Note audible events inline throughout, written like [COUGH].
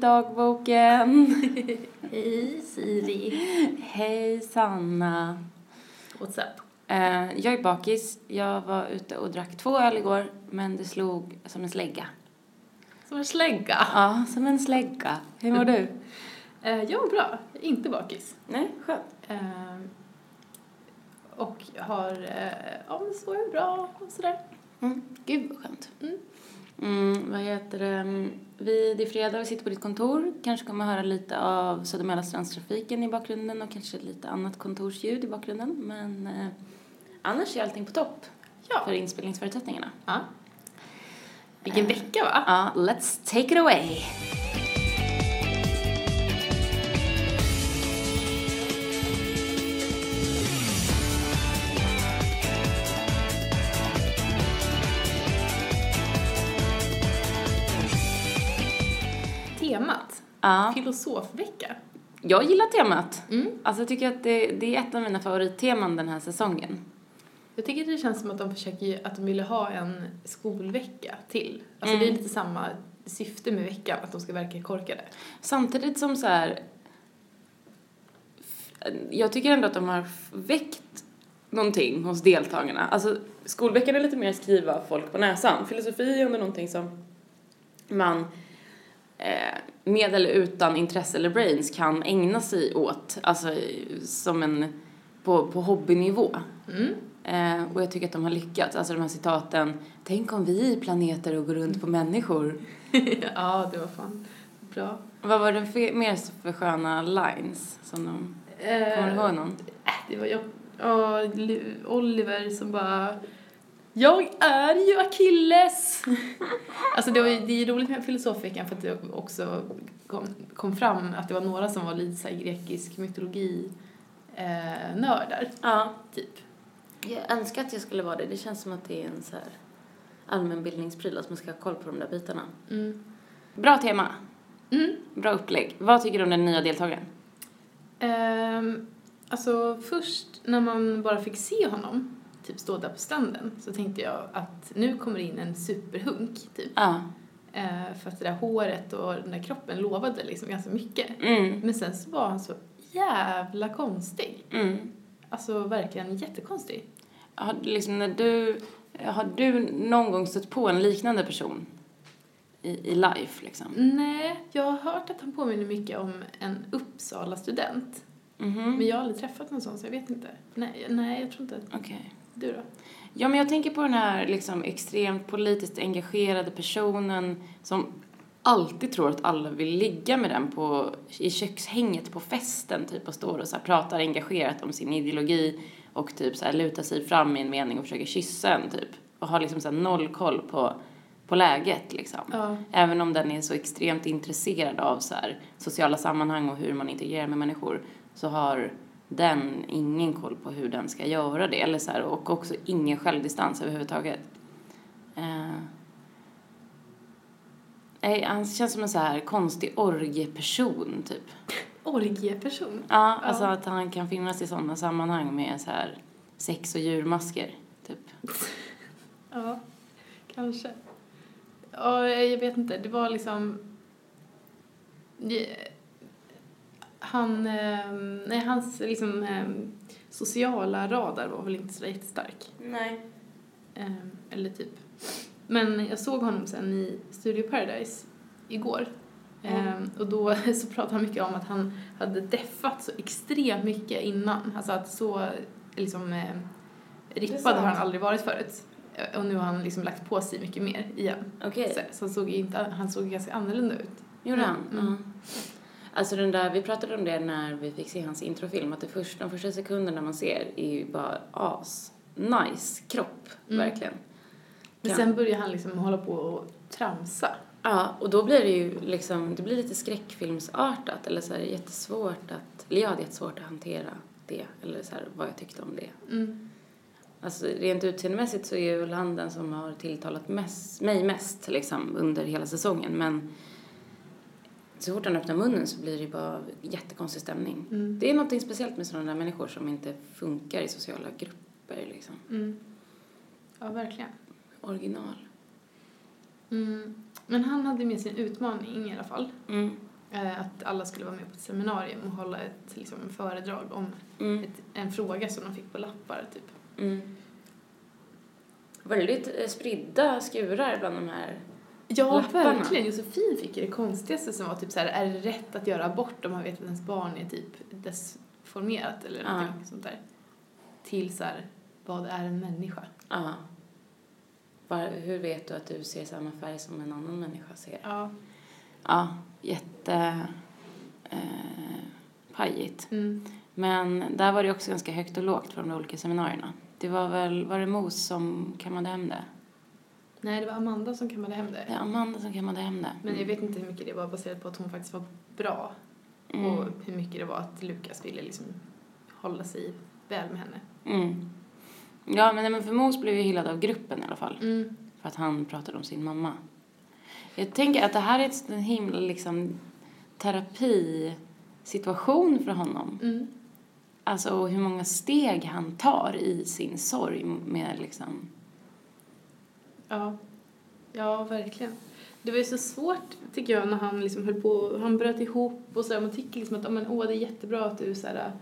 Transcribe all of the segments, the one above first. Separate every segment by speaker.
Speaker 1: dagboken. [LAUGHS]
Speaker 2: Hej Siri.
Speaker 1: Hej Sanna.
Speaker 2: What's up?
Speaker 1: Eh, jag är bakis. Jag var ute och drack två öl igår, men det slog som en slägga.
Speaker 2: Som en slägga.
Speaker 1: Ja, som en slägga. Hur mår du?
Speaker 2: Eh, jag mår bra. Jag är Inte bakis.
Speaker 1: Nej, skönt.
Speaker 2: Eh, och har, eh, ja men så är jag bra och sådär.
Speaker 1: Mm. Gud, vad skönt.
Speaker 2: Mm.
Speaker 1: Mm, vad heter det? Mm, Vi, det är fredag, vi sitter på ditt kontor. Kanske kommer höra lite av Södermälarstrandstrafiken i bakgrunden och kanske lite annat kontorsljud i bakgrunden. Men eh, annars är allting på topp
Speaker 2: Ja.
Speaker 1: för inspelningsförutsättningarna.
Speaker 2: ja. Vilken
Speaker 1: Eh.
Speaker 2: vecka va?
Speaker 1: Ja, let's take it away.
Speaker 2: Temat.
Speaker 1: Ja.
Speaker 2: Filosofvecka.
Speaker 1: Jag gillar temat.
Speaker 2: Mm.
Speaker 1: Alltså jag tycker att det, det är ett av mina favoritteman den här säsongen.
Speaker 2: Jag tycker det känns som att de försöker ju, att de ville ha en skolvecka till. Alltså
Speaker 1: Mm.
Speaker 2: det är lite samma syfte med veckan, att de ska verka korkade.
Speaker 1: Samtidigt som så här... Jag tycker ändå att de har väckt någonting hos deltagarna. Alltså skolveckan är lite mer skriva folk på näsan. Filosofi är ändå någonting som man eh, med eller utan intresse eller brains kan ägna sig åt. Alltså i- som en... På, på hobbynivå.
Speaker 2: Mm. [LAUGHS]
Speaker 1: Eh, och jag tycker att de har lyckats. Alltså de här citaten. Tänk om vi är planeter och går runt på människor.
Speaker 2: ja, det var fan bra.
Speaker 1: Vad var det för, mer för sköna lines som de... Kommer du ihåg någon?
Speaker 2: Det var jag. Ja, Li- Oliver som bara... Jag är ju Akilles! [LAUGHS] alltså det, var ju, det är ju roligt med filosofveckan för att det också kom, kom fram att det var några som var lite så här grekisk mytologi eh, nördar,
Speaker 1: Ja.
Speaker 2: typ.
Speaker 1: Jag önskar att jag skulle vara det. Det känns som att det är en så här allmänbildningspryl, att man ska ha koll på de där bitarna.
Speaker 2: Mm.
Speaker 1: Bra tema.
Speaker 2: Mm.
Speaker 1: Bra upplägg. Vad tycker du om den nya deltagaren?
Speaker 2: Ehm, alltså först när man bara fick se honom typ stå där på stranden så tänkte jag att nu kommer in en superhunk typ.
Speaker 1: Ja.
Speaker 2: Eh, för att det där håret och den där kroppen lovade liksom ganska mycket.
Speaker 1: Mm.
Speaker 2: Men sen så var han så jävla konstig.
Speaker 1: Mm.
Speaker 2: Alltså verkligen jättekonstig.
Speaker 1: Har, du liksom, när du, har du någon gång stött på en liknande person? I, i life, liksom?
Speaker 2: Nej, jag har hört att han påminner mycket om en Uppsala-student.
Speaker 1: Mhm.
Speaker 2: Men jag har aldrig träffat någon sån så jag vet inte. Nej, nej jag tror inte.
Speaker 1: Okej.
Speaker 2: Du då?
Speaker 1: Ja, men jag tänker på den här liksom, extremt politiskt engagerade personen som alltid tror att alla vill ligga med den på, i kökshänget på festen typ och står och så här, pratar engagerat om sin ideologi och typ så här, lutar sig fram i en mening och försöker kyssa en typ och har liksom så här, noll koll på, på läget liksom.
Speaker 2: Ja.
Speaker 1: Även om den är så extremt intresserad av så här, sociala sammanhang och hur man integrerar med människor så har den ingen koll på hur den ska göra det. Eller så här, och också ingen självdistans överhuvudtaget. Eh, nej, han känns som en så här konstig orgieperson typ.
Speaker 2: Orgieperson.
Speaker 1: Ja, alltså
Speaker 2: Ja.
Speaker 1: att han kan finnas i sådana sammanhang med så här sex och djurmasker. Typ.
Speaker 2: Ja, kanske. Ja, jag vet inte. Det var liksom... Det- Han, eh, nej, hans liksom, eh, sociala radar var väl inte så jättestark.
Speaker 1: Nej.
Speaker 2: Eh, Eller typ. Men jag såg honom sen i Studio Paradise igår. Eh, Och då [LAUGHS] så pratade han mycket om att han hade deffat så extremt mycket innan. Alltså att så eh, liksom eh, rippad
Speaker 1: sant.
Speaker 2: har han aldrig varit förut. Eh, Och nu har han liksom lagt på sig mycket mer igen.
Speaker 1: Okej.
Speaker 2: Så, så han såg ju inte, han såg ganska annorlunda ut.
Speaker 1: Gjorde
Speaker 2: Mm.
Speaker 1: han?
Speaker 2: Mm.
Speaker 1: Ja. Alltså den där, vi pratade om det när vi fick se hans introfilm, att det först, de första sekunderna man ser är ju bara as. Nice kropp,
Speaker 2: Mm.
Speaker 1: verkligen.
Speaker 2: Men
Speaker 1: Ja.
Speaker 2: sen började han liksom hålla på och tramsa.
Speaker 1: Ja, och då blir det ju liksom, det blir lite skräckfilmsartat eller så här jättesvårt att, eller jag hade jättesvårt att hantera det, eller så här vad jag tyckte om det.
Speaker 2: Mm.
Speaker 1: Alltså rent utseendemässigt så är väl han den som har tilltalat mest, mig mest liksom under hela säsongen, men så fort han öppnar munnen så blir det ju bara jättekonstig stämning.
Speaker 2: Mm.
Speaker 1: Det är något speciellt med sådana där människor som inte funkar i sociala grupper. Liksom.
Speaker 2: Mm. Ja, verkligen.
Speaker 1: Original.
Speaker 2: Mm. Men han hade med sin utmaning i alla fall.
Speaker 1: Mm.
Speaker 2: Eh, att alla skulle vara med på ett seminarium och hålla ett liksom, föredrag om
Speaker 1: Mm.
Speaker 2: ett, en fråga som de fick på lappar, typ.
Speaker 1: Mm. Väldigt eh, spridda skurar bland de här.
Speaker 2: Ja,
Speaker 1: Lapparna.
Speaker 2: verkligen. Josefin fick ju det konstigaste som var typ så här, är det rätt att göra abort om man vet att ens barn är typ desformerat eller
Speaker 1: Ja.
Speaker 2: någonting sånt där? Till så här, vad är en människa?
Speaker 1: Ja. Var, hur vet du att du ser samma färg som en annan människa ser?
Speaker 2: Ja.
Speaker 1: Ja, jätte... Eh, pajigt.
Speaker 2: Mm.
Speaker 1: Men där var det också ganska högt och lågt från de olika seminarierna. Det var väl, var det Mos som kammade hem det?
Speaker 2: Nej, det var Amanda som kammade hem det.
Speaker 1: Det är Amanda som kammade hem det.
Speaker 2: Men jag vet inte hur mycket det var baserat på att hon faktiskt var bra och
Speaker 1: Mm.
Speaker 2: hur mycket det var att Lukas ville liksom hålla sig väl med henne.
Speaker 1: Mm. Ja, men, nej, men för Mos blev ju hyllad av gruppen i alla fall.
Speaker 2: Mm.
Speaker 1: För att han pratade om sin mamma. Jag tänker att det här är ett sån himla liksom, terapisituation för honom.
Speaker 2: Mm.
Speaker 1: Alltså och hur många steg han tar i sin sorg med liksom...
Speaker 2: Ja. ja, verkligen. Det var ju så svårt tycker jag när han liksom höll på, han bröt ihop och sådär. Man tycker liksom att "Ja, men, åh, det är jättebra att du såhär,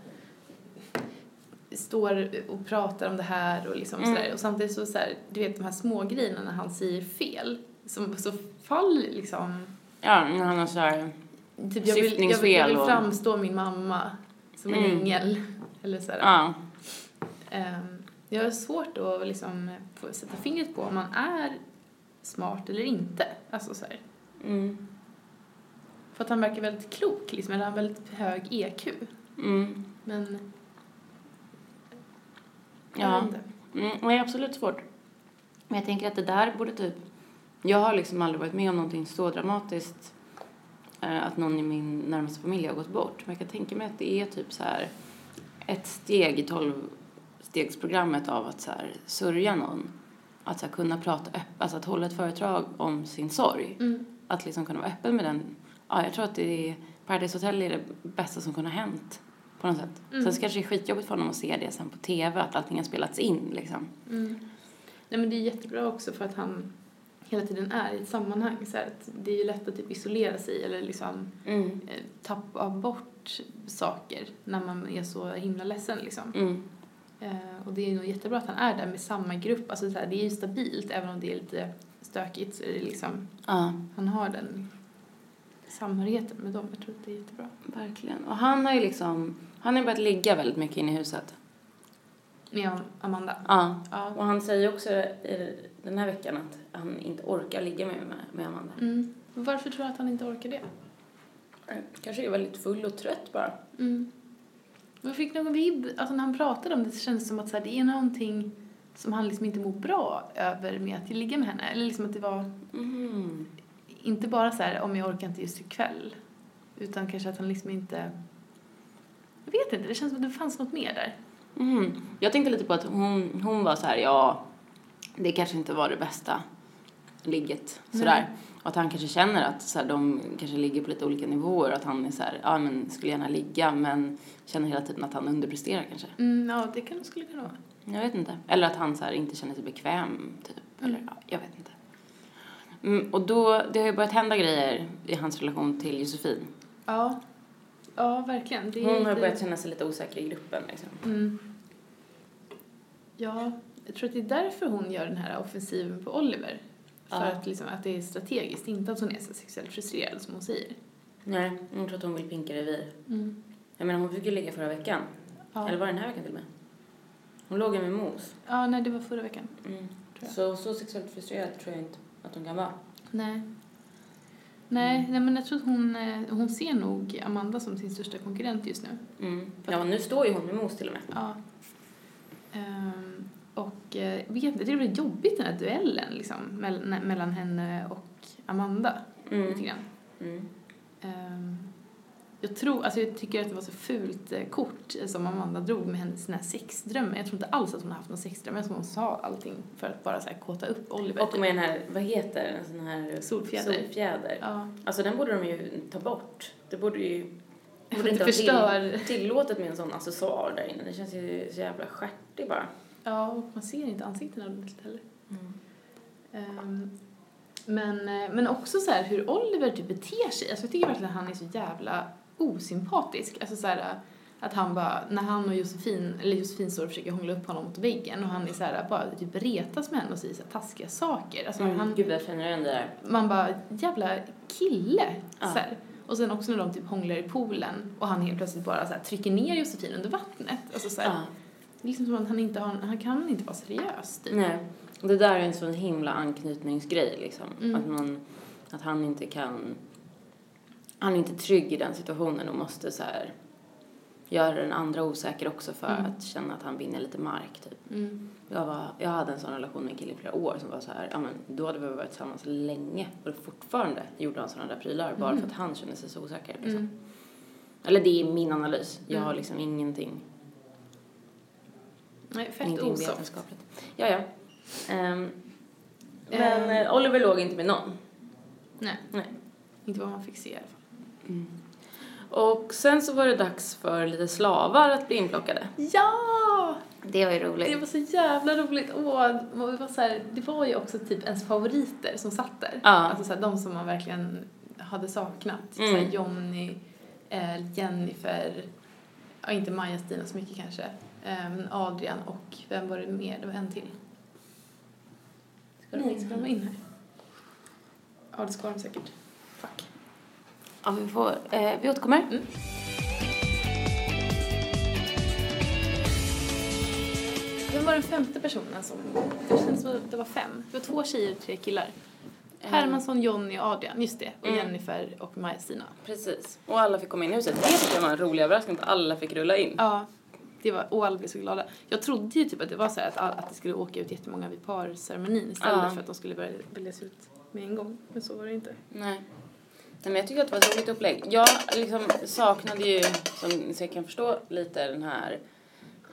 Speaker 2: står och pratar om det här och liksom
Speaker 1: Mm.
Speaker 2: sådär. Och samtidigt så såhär, du vet de här små grejerna när han säger fel. Som, så faller liksom
Speaker 1: Ja, men han har så här...
Speaker 2: Typ jag vill, jag vill, jag
Speaker 1: Syftningsfel
Speaker 2: vill
Speaker 1: och-
Speaker 2: framstå min mamma som en
Speaker 1: Mm.
Speaker 2: ängel. Eller sådär.
Speaker 1: Ja.
Speaker 2: Ehm, jag har svårt att liksom få sätta fingret på om man är smart eller inte. Alltså såhär.
Speaker 1: Mm.
Speaker 2: För att han verkar väldigt klok liksom, eller han har väldigt hög EQ.
Speaker 1: Mm.
Speaker 2: Men jag
Speaker 1: Ja.
Speaker 2: vet inte.
Speaker 1: Mm, nej, absolut svårt. Men jag tänker att det där borde typ... Jag har liksom aldrig varit med om någonting så dramatiskt eh, att någon i min närmaste familj har gått bort. Men jag kan tänka mig att det är typ så här ett steg i tolvstegsprogrammet av att så här sörja någon. Att så här kunna prata öppet, alltså att hålla ett föredrag om sin sorg.
Speaker 2: Mm.
Speaker 1: Att liksom kunna vara öppen med den. Ja, jag tror att det är, Paradise Hotel är det bästa som kunde ha hänt. På något sätt.
Speaker 2: Mm.
Speaker 1: Sen så kanske det är skitjobbigt för honom att se det sen på TV, att allting har spelats in liksom.
Speaker 2: Mm. Nej men det är jättebra också för att han hela tiden är i ett sammanhang. Så att det är ju lätt att typ isolera sig eller liksom
Speaker 1: Mm.
Speaker 2: eh, tappa bort saker när man är så himla ledsen liksom.
Speaker 1: Mm.
Speaker 2: Eh, och det är nog jättebra att han är där med samma grupp. Alltså så här, det är ju stabilt även om det är lite stökigt så är det liksom,
Speaker 1: Ja,
Speaker 2: han har den samhörigheten med dem. Jag tror att det är jättebra.
Speaker 1: verkligen. Och han har ju liksom, han har ju börjat ligga väldigt mycket inne i huset.
Speaker 2: Med Am- Amanda.
Speaker 1: Ja.
Speaker 2: Ja.
Speaker 1: Och han säger också i den här veckan att han inte orkar ligga med, med, med Amanda.
Speaker 2: Mm. Varför tror du att han inte orkar det?
Speaker 1: Kanske är väldigt full och trött bara.
Speaker 2: Mm. Jag fick någon vibb, alltså när han pratade om det så kändes det som att så här, det är någonting som han liksom inte mår bra över med att ligga med henne. Eller liksom att det var
Speaker 1: Mm.
Speaker 2: inte bara så här om jag orkar inte just ikväll. Utan kanske att han liksom inte... Jag vet inte, det känns som att det fanns något mer där.
Speaker 1: Mm. Jag tänkte lite på att hon, hon var så här, ja, det kanske inte var det bästa ligget sådär. Och att han kanske känner att så här, de kanske ligger på lite olika nivåer och att han är så här, ja men skulle gärna ligga men känner hela tiden att han underpresterar kanske.
Speaker 2: Mm, ja, det kan, skulle kunna vara.
Speaker 1: Jag vet inte. Eller att han så här inte känner sig bekväm, typ. Eller, ja, jag vet inte. Mm, och då, det har ju börjat hända grejer i hans relation till Josefin.
Speaker 2: Ja, ja verkligen. Det är
Speaker 1: Hon har
Speaker 2: lite-
Speaker 1: börjat känna sig lite osäker i gruppen, liksom.
Speaker 2: Mm. Ja, jag tror att det är därför hon gör den här offensiven på Oliver. För
Speaker 1: Ja.
Speaker 2: att, liksom, att det är strategiskt, inte att hon är så sexuellt frustrerad som hon säger.
Speaker 1: Nej, hon tror att hon vill pinka revir.
Speaker 2: Mm.
Speaker 1: Jag menar, hon fick ju ligga förra veckan.
Speaker 2: Ja.
Speaker 1: Eller var det den här veckan till och med? Hon låg ju med Mos.
Speaker 2: ja, nej det var förra veckan.
Speaker 1: Mm,
Speaker 2: Tror jag.
Speaker 1: Så, så sexuellt frustrerad tror jag inte att hon kan vara.
Speaker 2: Nej. Nej,
Speaker 1: Mm.
Speaker 2: nej men jag tror att hon, eh, hon ser nog Amanda som sin största konkurrent just nu.
Speaker 1: Mm. Ja, nu står ju hon med Mos till och med.
Speaker 2: Ja. Ehm, och eh, vet inte, det blev jobbigt den här duellen liksom, mellan, mellan henne och Amanda. Lite
Speaker 1: Mm.
Speaker 2: grann.
Speaker 1: Mm.
Speaker 2: Ehm, jag tror, alltså jag tycker att det var så fult eh, kort eh, som Amanda drog med hennes sina sexdrömmar. Jag tror inte alls att hon har haft någon sexdrömmar som hon sa allting för att bara så här, kåta upp Oliver.
Speaker 1: Och med den här, vad heter den, en sån här...
Speaker 2: Solfjäder.
Speaker 1: Solfjäder.
Speaker 2: Ja.
Speaker 1: Alltså den borde de ju ta bort. Det borde ju borde inte
Speaker 2: Det
Speaker 1: vara till,
Speaker 2: förstör.
Speaker 1: tillåtet med en sån accessoar där inne. Det känns ju så jävla stjärtig bara.
Speaker 2: Mm. Ja, och man ser inte ansiktena ordentligt heller. Ehm, Men, eh, men också så här hur Oliver typ beter sig. Alltså jag tycker verkligen att han är så jävla osympatisk. Alltså så här eh, att han bara, när han och Josefin, eller Josefin står och försöker hångla upp honom mot väggen och han är så här bara typ retas med henne och säger så här taskiga saker. Alltså
Speaker 1: Mm.
Speaker 2: han,
Speaker 1: Gud, jag känner igen det där.
Speaker 2: man bara, jävla kille!
Speaker 1: Ja.
Speaker 2: Så här. Och sen också när de typ hånglar i poolen och han helt plötsligt bara så här trycker ner Josefin under vattnet. Alltså så här,
Speaker 1: Ja.
Speaker 2: det är liksom som att han inte har, han kan inte vara seriös typ.
Speaker 1: Nej. Det där är en sån himla anknytningsgrej liksom.
Speaker 2: Mm.
Speaker 1: Att, man, att han inte kan... Han är inte trygg i den situationen och måste så här göra den andra osäker också för
Speaker 2: Mm.
Speaker 1: att känna att han vinner lite mark typ.
Speaker 2: Mm.
Speaker 1: Jag, var, jag hade en sån relation med en kille i flera år som var så här, ja men då hade vi varit tillsammans länge och fortfarande gjorde han sådana där prylar bara
Speaker 2: Mm.
Speaker 1: för att han kände sig så osäker liksom.
Speaker 2: Mm.
Speaker 1: Eller det är min analys. Jag har
Speaker 2: Mm.
Speaker 1: liksom ingenting,
Speaker 2: Nej, fett
Speaker 1: ingenting
Speaker 2: osoft.
Speaker 1: vetenskapligt. Ja, ja. Ehm, men eh, Oliver låg inte med någon.
Speaker 2: Nej.
Speaker 1: Nej.
Speaker 2: Inte vad man fick se i alla fall.
Speaker 1: Mm. Och sen så var det dags för lite slavar att bli inplockade.
Speaker 2: Ja!
Speaker 1: Det var ju
Speaker 2: Det
Speaker 1: roligt.
Speaker 2: var så jävla roligt. Åh, det, var så här, det var ju också typ ens favoriter som satt där.
Speaker 1: Ja.
Speaker 2: Alltså så här, de som man verkligen hade saknat. Typ Så
Speaker 1: Mm.
Speaker 2: här, Johnny, eh, Jennifer, ja, inte Maja Stina så mycket kanske. Eh, men Adrian och vem var det mer? Det var en till. Ska de,
Speaker 1: Nej.
Speaker 2: ska de in här? Ja, det ska de säkert. Fuck.
Speaker 1: Ja, vi, får, eh, vi återkommer.
Speaker 2: Mm. Vem var den femte personen som... Det känns som att det var fem. Det var två tjejer och tre killar. Hermansson, Jonny och Adrian. Just det. Och
Speaker 1: Ehm. Mm.
Speaker 2: Jennifer och Maja-Stina.
Speaker 1: Precis. Och alla fick komma in i huset. Det tycker jag var en rolig överraskning att alla fick rulla in.
Speaker 2: Ja. Det var, och alla blev så glada. Jag trodde ju typ att det var så här att, all- att det skulle åka ut jättemånga vid parceremonin istället
Speaker 1: Ja.
Speaker 2: för att de skulle börja väljas ut med en gång. Men så var det inte.
Speaker 1: Nej. Nej, men jag tycker att det var ett roligt upplägg. Jag liksom saknade ju, som ni säkert kan förstå, lite den här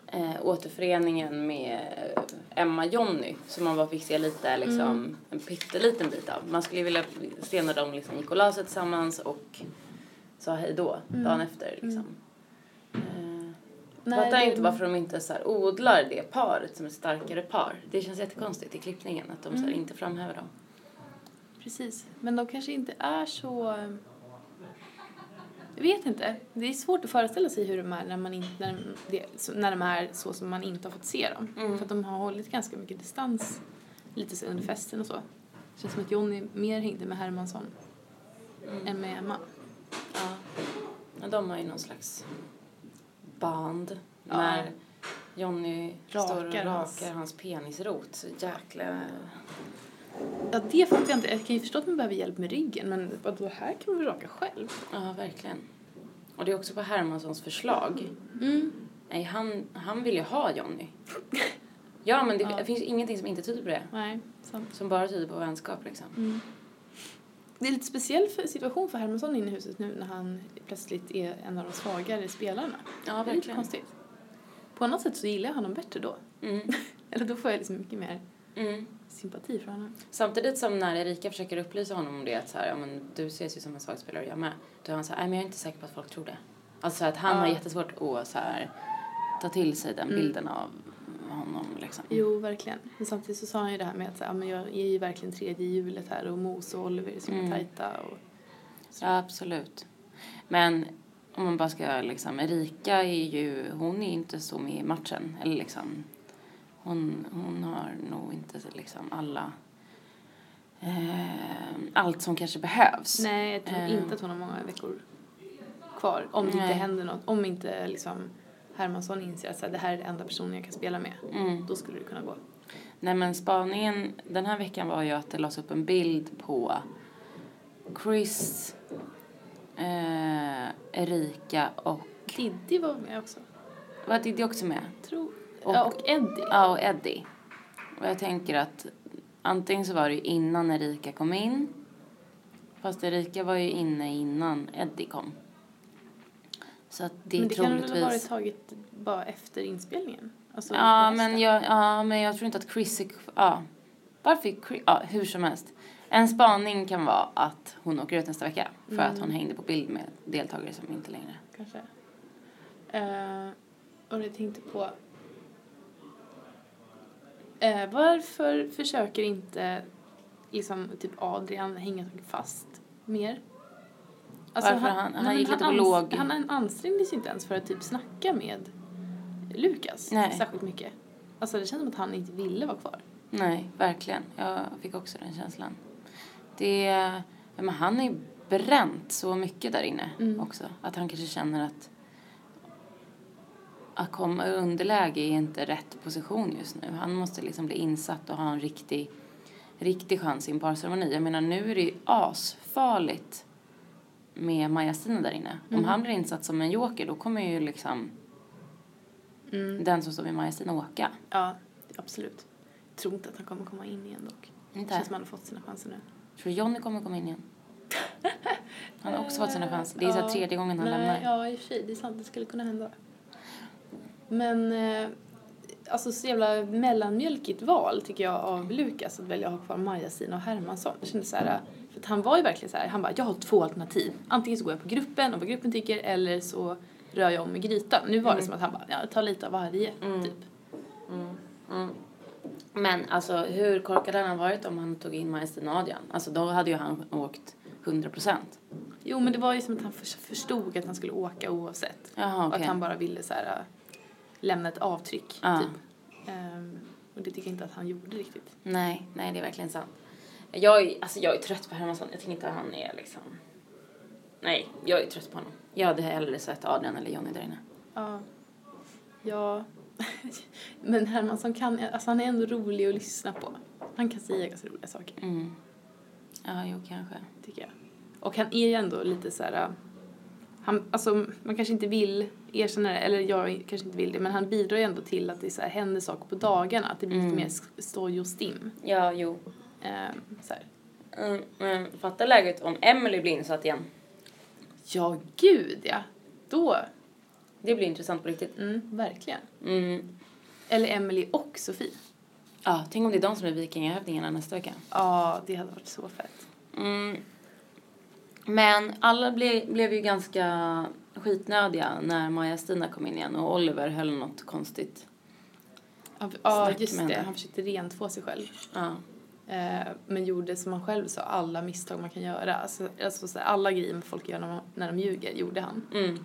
Speaker 1: eh, återföreningen med Emma Jonny som man bara fick se lite, liksom,
Speaker 2: Mm.
Speaker 1: en pytteliten bit av. Man skulle ju vilja se när de liksom gick och la sig tillsammans och sa hej då
Speaker 2: Mm.
Speaker 1: dagen efter. Liksom.
Speaker 2: Nej,
Speaker 1: Eh, fattar
Speaker 2: det-
Speaker 1: inte varför de inte så här odlar det paret som ett starkare par. Det känns jättekonstigt i klippningen att de så här
Speaker 2: Mm.
Speaker 1: inte framhäver dem.
Speaker 2: Precis. Men de kanske inte är så... Jag vet inte. Det är svårt att föreställa sig hur de är när, man inte, när, de, det- så- när de är så som man inte har fått se dem.
Speaker 1: Mm.
Speaker 2: För att de har hållit ganska mycket distans lite så under festen och så. Det känns som att Johnny mer hängde med Hermansson än med Emma.
Speaker 1: Ja. Men de har ju någon slags band.
Speaker 2: Ja.
Speaker 1: När Johnny
Speaker 2: Rakar
Speaker 1: står och rakar
Speaker 2: hans-
Speaker 1: hans, penisrot. Så jäkla...
Speaker 2: Ja, det fattar jag inte. Jag kan ju förstå att man behöver hjälp med ryggen men vadå, här kan man väl raka själv?
Speaker 1: Ja, verkligen. Och det är också på Hermanssons förslag.
Speaker 2: Mm.
Speaker 1: Nej, han, han vill ju ha
Speaker 2: [LAUGHS]
Speaker 1: Johnny. Ja, men det
Speaker 2: Ja.
Speaker 1: finns ju ingenting som inte tyder på det.
Speaker 2: Nej, sant.
Speaker 1: Som bara tyder på vänskap liksom.
Speaker 2: Mm. Det är en lite speciell för- situation för Hermansson inne i huset nu när han plötsligt är en av de svagare spelarna.
Speaker 1: Ja,
Speaker 2: det är lite
Speaker 1: verkligen.
Speaker 2: konstigt. På något sätt så gillar jag honom bättre då.
Speaker 1: Mm.
Speaker 2: Eller då får jag liksom mycket mer
Speaker 1: Mm.
Speaker 2: sympati för honom.
Speaker 1: Samtidigt som när Erika försöker upplysa honom om det att så här, ja, men du ses ju som en svag spelare jag med. Då är han så här, nej men jag är inte säker på att folk tror det. Alltså att han
Speaker 2: Ja.
Speaker 1: har jättesvårt att så här, ta till sig den
Speaker 2: Mm.
Speaker 1: bilden av honom liksom.
Speaker 2: Jo, verkligen. Men samtidigt så sa han ju det här med att så här, "Ja, men jag är ju verkligen tredje i hjulet här och Mos och Oliver är så
Speaker 1: Mm.
Speaker 2: tajta och...
Speaker 1: Ja, absolut. Men om man bara ska liksom, Erika är ju, hon är ju inte så med i matchen. Eller liksom, hon, hon har nog inte liksom alla, eh, allt som kanske behövs.
Speaker 2: Nej, jag tror
Speaker 1: Eh.
Speaker 2: inte att hon har många veckor kvar. Om det inte
Speaker 1: Nej.
Speaker 2: händer något. Om inte liksom Hermansson inser att så här, det här är den enda personen jag kan spela med.
Speaker 1: Mm.
Speaker 2: Då skulle det kunna gå.
Speaker 1: Nej men spaningen den här veckan var ju att det lades upp en bild på Chris, eh, Erika och...
Speaker 2: Diddy var med också.
Speaker 1: Var Diddy också med?
Speaker 2: Tror.
Speaker 1: Och-
Speaker 2: ja, och Eddie.
Speaker 1: Ja, och Eddie. Och jag tänker att antingen så var det ju innan Erika kom in. Fast Erika var ju inne innan Eddie kom. Så att det är
Speaker 2: men det kan
Speaker 1: troligtvis...
Speaker 2: väl ha varit taget bara efter inspelningen? Alltså
Speaker 1: Ja
Speaker 2: på
Speaker 1: men,
Speaker 2: hösten.
Speaker 1: jag, ja, men jag tror inte att Chris är... Ja. Varför är Chris... Ja, hur som helst. En spaning kan vara att hon åker ut nästa vecka för att hon hängde på bild med deltagare som inte längre...
Speaker 2: Kanske. Eh, och jag tänkte på... Eh, varför försöker inte är som typ Adrian hänger fast mer. Alltså,
Speaker 1: Varför? Han- han
Speaker 2: men
Speaker 1: gick lite på
Speaker 2: ans-
Speaker 1: låg.
Speaker 2: Han ansträngde sig inte ens för att typ snacka med Lukas
Speaker 1: Nej.
Speaker 2: särskilt mycket. Alltså det känns som att han inte ville vara kvar.
Speaker 1: Nej, verkligen. Jag fick också den känslan. Det, ja, men han är bränt så mycket där inne
Speaker 2: Mm.
Speaker 1: också. Att han kanske känner att att komma i underläge är inte rätt position just nu. Han måste liksom bli insatt och ha en riktig, riktig chans i en parceremoni. Jag menar nu är det ju asfarligt med Maja-Stina där inne. Om han blir insatt som en joker då kommer ju liksom den som står vid Maja-Stina åka.
Speaker 2: Ja, absolut. Jag tror inte att han kommer komma in igen dock.
Speaker 1: Inte?
Speaker 2: Det känns som att han har fått sina chanser nu.
Speaker 1: Tror du Johnny kommer komma in
Speaker 2: [LAUGHS]
Speaker 1: igen? Han har också fått sina chanser. Det är så här
Speaker 2: Ja,
Speaker 1: tredje gången han
Speaker 2: nej,
Speaker 1: lämnar.
Speaker 2: Ja, i och för sig. Det är sant. Det skulle kunna hända. Men eh, alltså så jävla mellanmjölkigt val tycker jag av Lukas att välja att ha kvar Maja, Sina och Hermansson. Jag kände så här, eh, för att han var ju verkligen så här, han bara jag har två alternativ. Antingen så går jag på gruppen och vad gruppen tycker eller så rör jag om i grytan. Nu var det som att han bara, ja, ta lite av varje typ.
Speaker 1: Mm, Men alltså hur korkad hade han varit om han tog in Majestin Adrian? Alltså då hade ju han åkt 100 procent.
Speaker 2: Jo men det var ju som att han förs- förstod att han skulle åka oavsett.
Speaker 1: Jaha
Speaker 2: Och
Speaker 1: okej. Ah.
Speaker 2: att han bara ville så här, äh, lämna ett avtryck.
Speaker 1: Ja.
Speaker 2: Typ. Ehm, och det tycker jag inte att han gjorde riktigt.
Speaker 1: Nej, nej det är verkligen sant. Jag är, alltså, jag är trött på Hermansson. Jag tycker inte att han är liksom... Nej, jag är trött på honom. Jag hade hellre sett Adrian eller Johnny där inne.
Speaker 2: Ja. ja. [LAUGHS] Men Hermansson kan, alltså han är ändå rolig att lyssna på. Han kan säga ganska roliga saker,
Speaker 1: Mm. Ja, jo kanske.
Speaker 2: tycker jag. Och han är ju ändå lite så här... äh, Han, alltså, man kanske inte vill erkänna det, eller jag kanske inte vill det, men han bidrar ju ändå till att det så här, händer saker på dagarna. Att det blir
Speaker 1: Mm.
Speaker 2: lite mer sk- stoj och stim.
Speaker 1: Ja, jo.
Speaker 2: Ehm, så här.
Speaker 1: Mm, men fatta läget om Emily blir insatt igen.
Speaker 2: Ja, gud ja! Då,
Speaker 1: Det blir intressant på riktigt.
Speaker 2: mm, verkligen.
Speaker 1: Mm.
Speaker 2: Eller Emily och Sofie.
Speaker 1: Ja, tänk om det är de som är vikingahövdingarna nästa vecka.
Speaker 2: Ja, det hade varit så fett.
Speaker 1: Mm. Men alla ble, blev ju ganska skitnödiga när Maja-Stina kom in igen och Oliver höll något konstigt.
Speaker 2: Ja, Ja,
Speaker 1: Snack
Speaker 2: just
Speaker 1: med
Speaker 2: det.
Speaker 1: henne.
Speaker 2: Han försökte rentvå sig själv.
Speaker 1: Ja.
Speaker 2: Eh, men gjorde, som han själv sa, alla misstag man kan göra. Alltså, alltså så här, alla grejer folk gör när de, när de ljuger, gjorde han.
Speaker 1: Mm.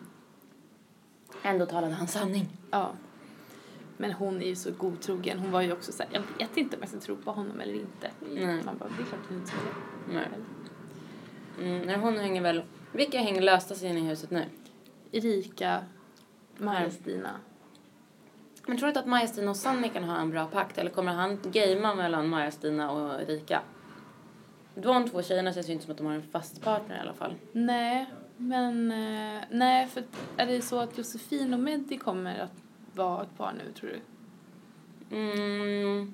Speaker 1: Ändå talade han sanning.
Speaker 2: Ja. Men hon är ju så godtrogen. Hon var ju också så här, jag vet inte om jag ska tro på honom eller inte.
Speaker 1: Nej.
Speaker 2: Man bara, det är klart att du inte ska det.
Speaker 1: Nej. Mm, när hon hänger väl... Vilka hänger lösta sig inne i huset nu?
Speaker 2: Erika, Maja-Stina.
Speaker 1: Men tror du inte att Maja-Stina och Sanni kan ha en bra pakt? Eller kommer han gamea mellan Maja-Stina och Erika? De två tjejerna känns ju inte som att de har en fast partner i alla fall.
Speaker 2: Nej, men eh, nej, för är det så att Josefin och Meddi kommer att vara ett par nu, tror du?
Speaker 1: Mm.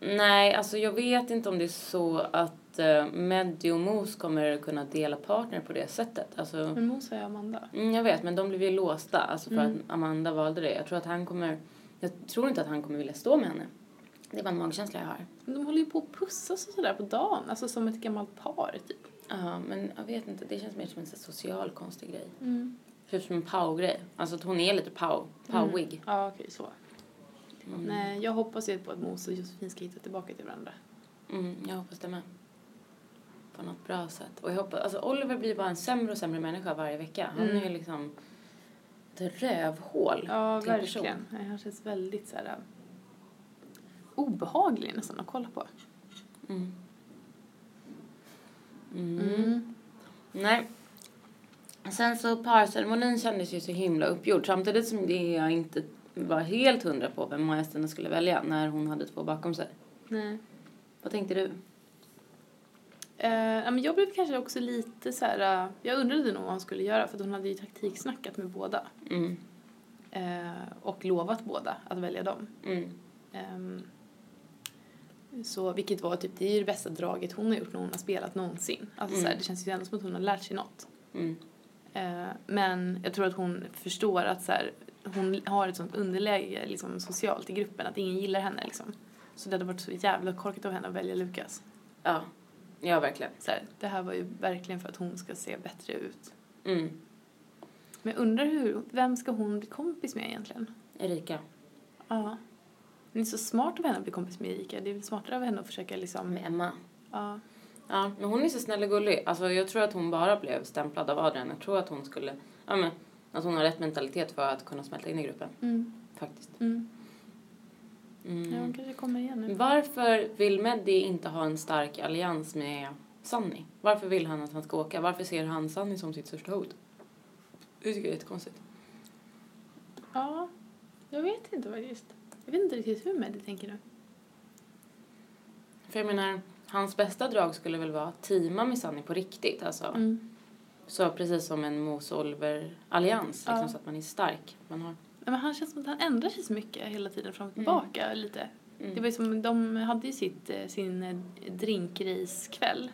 Speaker 1: Nej, alltså jag vet inte om det är så att eh, Meddi och Mos kommer kunna dela partner på det sättet. Alltså,
Speaker 2: Men Mos och Amanda.
Speaker 1: mm, jag vet, men de blev ju låsta alltså för
Speaker 2: Mm.
Speaker 1: att Amanda valde det. Jag tror, att han kommer, jag tror inte att han kommer vilja stå med henne. Det är bara en magkänsla jag har.
Speaker 2: Men de håller ju på att pussas och sådär på dagen, alltså som ett gammalt par typ.
Speaker 1: Ja, men jag vet inte. Det känns mer som en så här social konstig grej. Typ som en Pau-grej. Alltså att hon är lite Pau. Pauig.
Speaker 2: Ja, okej, så.
Speaker 1: Mm.
Speaker 2: Nej, jag hoppas ju på att Mos och Josefin ska hitta tillbaka till varandra.
Speaker 1: Mm, jag hoppas det med. På något bra sätt. Och jag hoppas, alltså Oliver blir bara en sämre och sämre människa varje vecka. Han
Speaker 2: Mm.
Speaker 1: är ju liksom ett rövhål
Speaker 2: Ja,
Speaker 1: till person.
Speaker 2: verkligen. Nej, han känns väldigt såhär äh, obehaglig nästan att kolla på.
Speaker 1: Mm. Mm. Nej. Sen så parceremonin kändes ju så himla uppgjord. Samtidigt som det jag inte var helt hundra på vem Maja Stina skulle välja när hon hade två bakom sig.
Speaker 2: Nej.
Speaker 1: Vad tänkte du?
Speaker 2: Eh, ja, men jag blev kanske också lite så här. eh, jag undrade nog vad hon skulle göra för att hon hade ju taktiksnackat med båda
Speaker 1: Mm.
Speaker 2: eh, och lovat båda att välja dem.
Speaker 1: Mm.
Speaker 2: Ehm, så, vilket var typ, det är ju det bästa draget hon har gjort när hon har spelat någonsin. Alltså,
Speaker 1: Mm.
Speaker 2: så här, det känns ju ändå som att hon har lärt sig något.
Speaker 1: Mm.
Speaker 2: Eh, men jag tror att hon förstår att så här, hon har ett sånt underläge liksom, socialt i gruppen att ingen gillar henne. Liksom. Så det hade varit så jävla korkat av henne att välja Lukas.
Speaker 1: Ja. Ja, verkligen.
Speaker 2: Så här, det här var ju verkligen för att hon ska se bättre ut.
Speaker 1: Mm.
Speaker 2: Men jag undrar hur, vem ska hon bli kompis med egentligen?
Speaker 1: Erika. Mm.
Speaker 2: Ja. Det är så smart av henne att bli kompis med Erika. Det är väl smartare av henne att försöka liksom...
Speaker 1: Med Emma.
Speaker 2: Ja.
Speaker 1: Ja, men hon är så snäll och gullig. Alltså, jag tror att hon bara blev stämplad av Adrian. Jag tror att hon skulle... Ja, men, att hon har rätt mentalitet för att kunna smälta in i gruppen.
Speaker 2: Mm.
Speaker 1: Faktiskt.
Speaker 2: Mm.
Speaker 1: Mm.
Speaker 2: Ja, hon kanske kommer igen nu.
Speaker 1: Varför vill Meddi inte ha en stark allians med Sunny? Varför vill han att han ska åka? Varför ser han Sunny som sitt största hot? Det tycker jag är jättekonstigt.
Speaker 2: Ja, jag vet inte faktiskt. Jag vet inte riktigt hur Meddy tänker nu.
Speaker 1: För jag menar, hans bästa drag skulle väl vara att teama med Sunny på riktigt. Alltså.
Speaker 2: Mm.
Speaker 1: Så precis som en Mosolver-allians. Liksom,
Speaker 2: Ja.
Speaker 1: Så att man är stark. Man har...
Speaker 2: Nej, Men han känns som att han ändrar sig så mycket hela tiden fram och
Speaker 1: Mm.
Speaker 2: tillbaka lite.
Speaker 1: Mm.
Speaker 2: Det var ju som, de hade ju sitt, eh, sin eh, drinkrace-kväll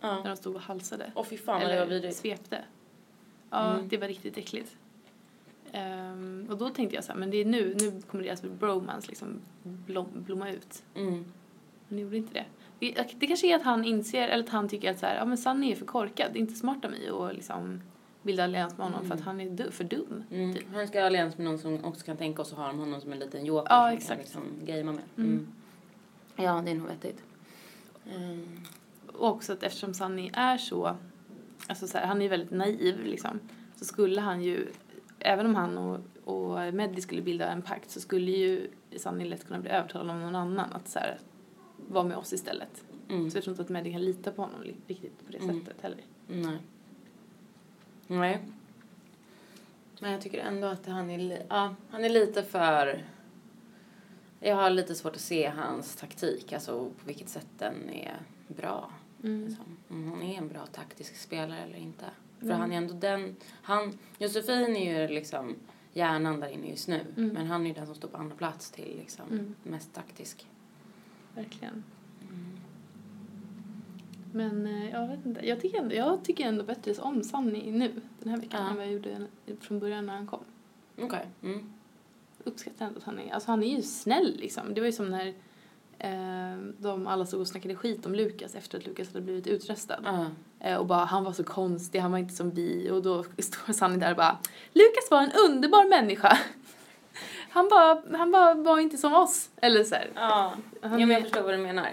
Speaker 2: när
Speaker 1: Ja.
Speaker 2: de stod och halsade.
Speaker 1: Åh fy fan vad det var vidrigt.
Speaker 2: svepte. Ja,
Speaker 1: Mm.
Speaker 2: det var riktigt äckligt. Ehm, och då tänkte jag så här, men det är nu, nu kommer deras bromance liksom blom, blomma ut.
Speaker 1: Mm.
Speaker 2: Men det gjorde inte det. det. Det kanske är att han inser, eller att han tycker att så här, ja men Sunny är för korkad, det är inte smart av mig att liksom bilda allians med honom för att
Speaker 1: Mm.
Speaker 2: han är du, för dum.
Speaker 1: Mm.
Speaker 2: Typ.
Speaker 1: Han ska ha allians med någon som också kan tänka och så har han honom som en liten joker
Speaker 2: Ja,
Speaker 1: som
Speaker 2: exakt.
Speaker 1: kan liksom gamea med.
Speaker 2: Mm.
Speaker 1: Ja, det är nog vettigt. Mm.
Speaker 2: Och också att eftersom Sunny är så, alltså så här, han är väldigt naiv liksom, så skulle han ju, även om han och, och Meddy skulle bilda en pakt så skulle ju Sunny lätt kunna bli övertalad av någon annan att så här, vara med oss istället.
Speaker 1: Mm.
Speaker 2: Så jag tror inte att Meddy kan lita på honom li- riktigt på det
Speaker 1: Mm.
Speaker 2: sättet heller.
Speaker 1: Nej. Nej. Men jag tycker ändå att han är, li- ja, han är lite för... Jag har lite svårt att se hans taktik, alltså på vilket sätt den är bra.
Speaker 2: Mm.
Speaker 1: Liksom. Om han är en bra taktisk spelare eller inte. För
Speaker 2: Mm.
Speaker 1: han är ändå den... Han, Josefin är ju liksom hjärnan där inne just nu.
Speaker 2: Mm.
Speaker 1: Men han är ju den som står på andra plats till liksom
Speaker 2: Mm.
Speaker 1: mest taktisk.
Speaker 2: Verkligen.
Speaker 1: Mm.
Speaker 2: Men eh, jag vet inte, jag tycker ändå, jag tycker ändå bättre om Sunny nu den här veckan
Speaker 1: Ja.
Speaker 2: än vad jag gjorde från början när han kom.
Speaker 1: Okej. Mm.
Speaker 2: uppskattar ändå att han är, alltså han är ju snäll liksom. Det var ju som när eh, de alla stod och snackade skit om Lukas efter att Lukas hade blivit utröstad.
Speaker 1: Ja.
Speaker 2: Eh, och bara han var så konstig, han var inte som vi och då [LAUGHS] står Sanni där och bara Lukas var en underbar människa. [LAUGHS] Han bara, han bara var inte som oss. Eller så här.
Speaker 1: Ja,
Speaker 2: Han
Speaker 1: men jag
Speaker 2: är-
Speaker 1: förstår vad du menar.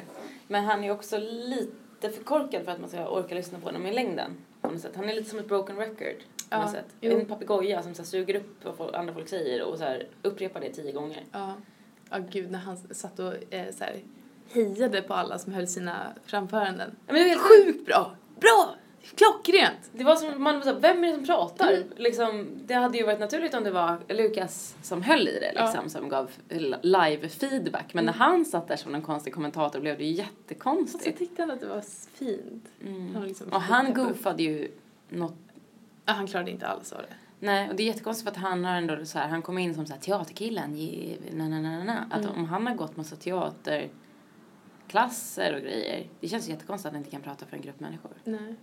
Speaker 1: Men han är också lite för korkad för att man ska orka lyssna på honom i längden. På något sätt. Han är lite som ett broken record. På
Speaker 2: Ja,
Speaker 1: något sätt.
Speaker 2: jo.
Speaker 1: En papegoja som så här, suger upp vad folk- andra folk säger och så här, upprepar det tio gånger.
Speaker 2: Ja. Ja gud när han satt och eh, så här, hejade på alla som höll sina framföranden.
Speaker 1: Ja, Men det, är helt sjukt.
Speaker 2: Sjukt bra! Bra! Klockrent!
Speaker 1: det var som, man var så här, vem är det som pratar?
Speaker 2: Mm.
Speaker 1: Liksom, det hade ju varit naturligt om det var Lukas som höll i det liksom, som gav live feedback. Men när han satt där som en konstig kommentator blev det ju
Speaker 2: Och så
Speaker 1: jättekonstigt.
Speaker 2: tyckte han att det var fint.
Speaker 1: Mm.
Speaker 2: Han liksom
Speaker 1: Och han
Speaker 2: peppat upp.
Speaker 1: goofade ju något
Speaker 2: Ja, han klarade inte alls av det.
Speaker 1: Nej, och det är jättekonstigt för att han har ändå så här, han kom in som så här, teaterkillen, ge- na, na, na, na, na. Att
Speaker 2: Mm.
Speaker 1: om han har gått massa teaterklasser och grejer, det känns ju jättekonstigt att han inte kan prata för en grupp människor.
Speaker 2: Nej.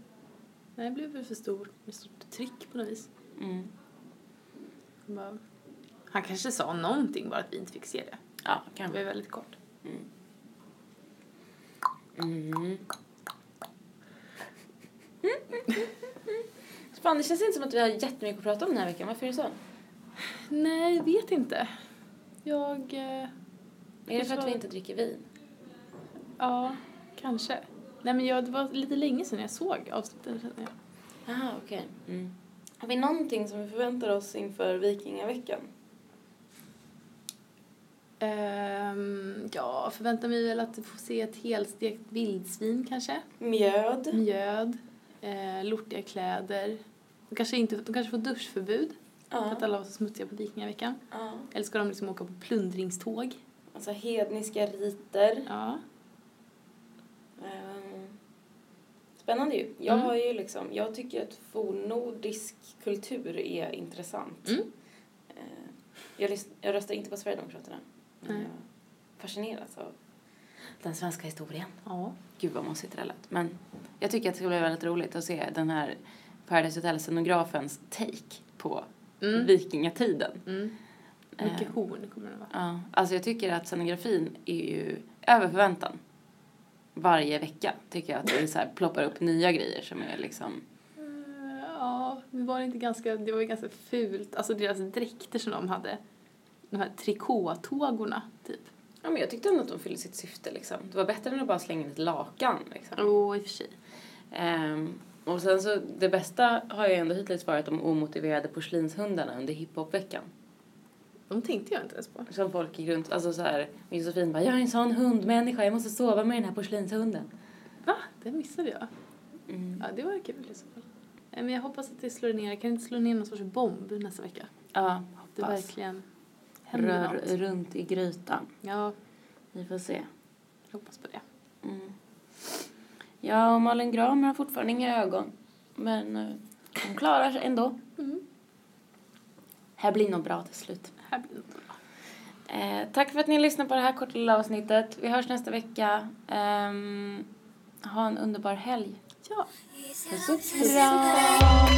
Speaker 2: Nej, det blev väl för stor, med stort tryck på något vis.
Speaker 1: Mm.
Speaker 2: Han, bara, han kanske sa någonting bara att vi inte fick se
Speaker 1: Ja,
Speaker 2: det. Det var
Speaker 1: kanske.
Speaker 2: ju väldigt kort.
Speaker 1: Mm. Fan, det känns inte som att vi har jättemycket att prata om den här veckan. Varför är det så?
Speaker 2: Nej, vet inte. Jag... eh,
Speaker 1: Är det för att vi inte dricker vin?
Speaker 2: Ja, kanske. Nej, men jag, det var lite länge sedan jag såg avsnitten känner jag.
Speaker 1: Jaha, okej. Mm. Har vi någonting som vi förväntar oss inför vikingaveckan?
Speaker 2: Ehm, ja, förväntar mig väl att få se ett helstekt vildsvin kanske.
Speaker 1: Mjöd.
Speaker 2: Mjöd. Eh, lortiga kläder. De kanske, inte, de kanske får duschförbud. För
Speaker 1: Ja.
Speaker 2: att alla var så smutsiga på vikingaveckan.
Speaker 1: ja.
Speaker 2: Eller ska de liksom åka på plundringståg?
Speaker 1: Alltså hedniska riter.
Speaker 2: Ja.
Speaker 1: Ehm, Spännande ju. Jag
Speaker 2: Mm.
Speaker 1: har ju liksom, jag tycker att fornnordisk kultur är intressant.
Speaker 2: Mm.
Speaker 1: Ehm, Jag, lys- jag röstar inte på Sverigedemokraterna. Men
Speaker 2: Nej.
Speaker 1: jag fascineras av den svenska historien.
Speaker 2: Ja.
Speaker 1: Gud vad mossigt det där lät. Men jag tycker att det ska bli väldigt roligt att se den här Paradise Hotel-scenografens take på
Speaker 2: Mm.
Speaker 1: vikingatiden.
Speaker 2: Mm.
Speaker 1: Eh,
Speaker 2: Mycket horn kommer det vara.
Speaker 1: Ja, alltså jag tycker att scenografin är ju över förväntan. Varje vecka tycker jag att det så här ploppar upp nya grejer som är liksom...
Speaker 2: Eh, Ja, det var inte ganska, det var ju ganska fult. Alltså deras dräkter som de hade. De här trikåtågorna, typ.
Speaker 1: Ja, men jag tyckte ändå att de fyllde sitt syfte. Liksom. Det var bättre än att bara slänga in ett lakan. Liksom.
Speaker 2: Jo, oh, i och för sig.
Speaker 1: Ehm, och sen så, det bästa har ju ändå hittills varit de omotiverade porslinshundarna under hiphopveckan.
Speaker 2: De tänkte jag inte ens på.
Speaker 1: Som folk gick runt, alltså så här, och Josefin bara, jag är en sån hundmänniska, jag måste sova med den här porslinshunden.
Speaker 2: Va? Det missade jag.
Speaker 1: Mm.
Speaker 2: Ja, det var kul i så fall. Eh, Men jag hoppas att det slår ner. Kan det inte slå ner någon sorts bomb nästa vecka?
Speaker 1: Ja,
Speaker 2: Det
Speaker 1: hoppas.
Speaker 2: verkligen händer
Speaker 1: Rör
Speaker 2: något.
Speaker 1: runt i grytan.
Speaker 2: Ja,
Speaker 1: Vi får se.
Speaker 2: jag hoppas på det.
Speaker 1: Mm. Ja, och Malin Gramer har fortfarande inga ögon. Men eh, hon klarar sig ändå.
Speaker 2: Mm.
Speaker 1: Här blir nog bra till slut.
Speaker 2: Här blir det bra.
Speaker 1: Eh, tack för att ni lyssnade på det här korta lilla avsnittet. Vi hörs nästa vecka. Ehm, ha en underbar helg.
Speaker 2: Ja.
Speaker 1: Puss och kram!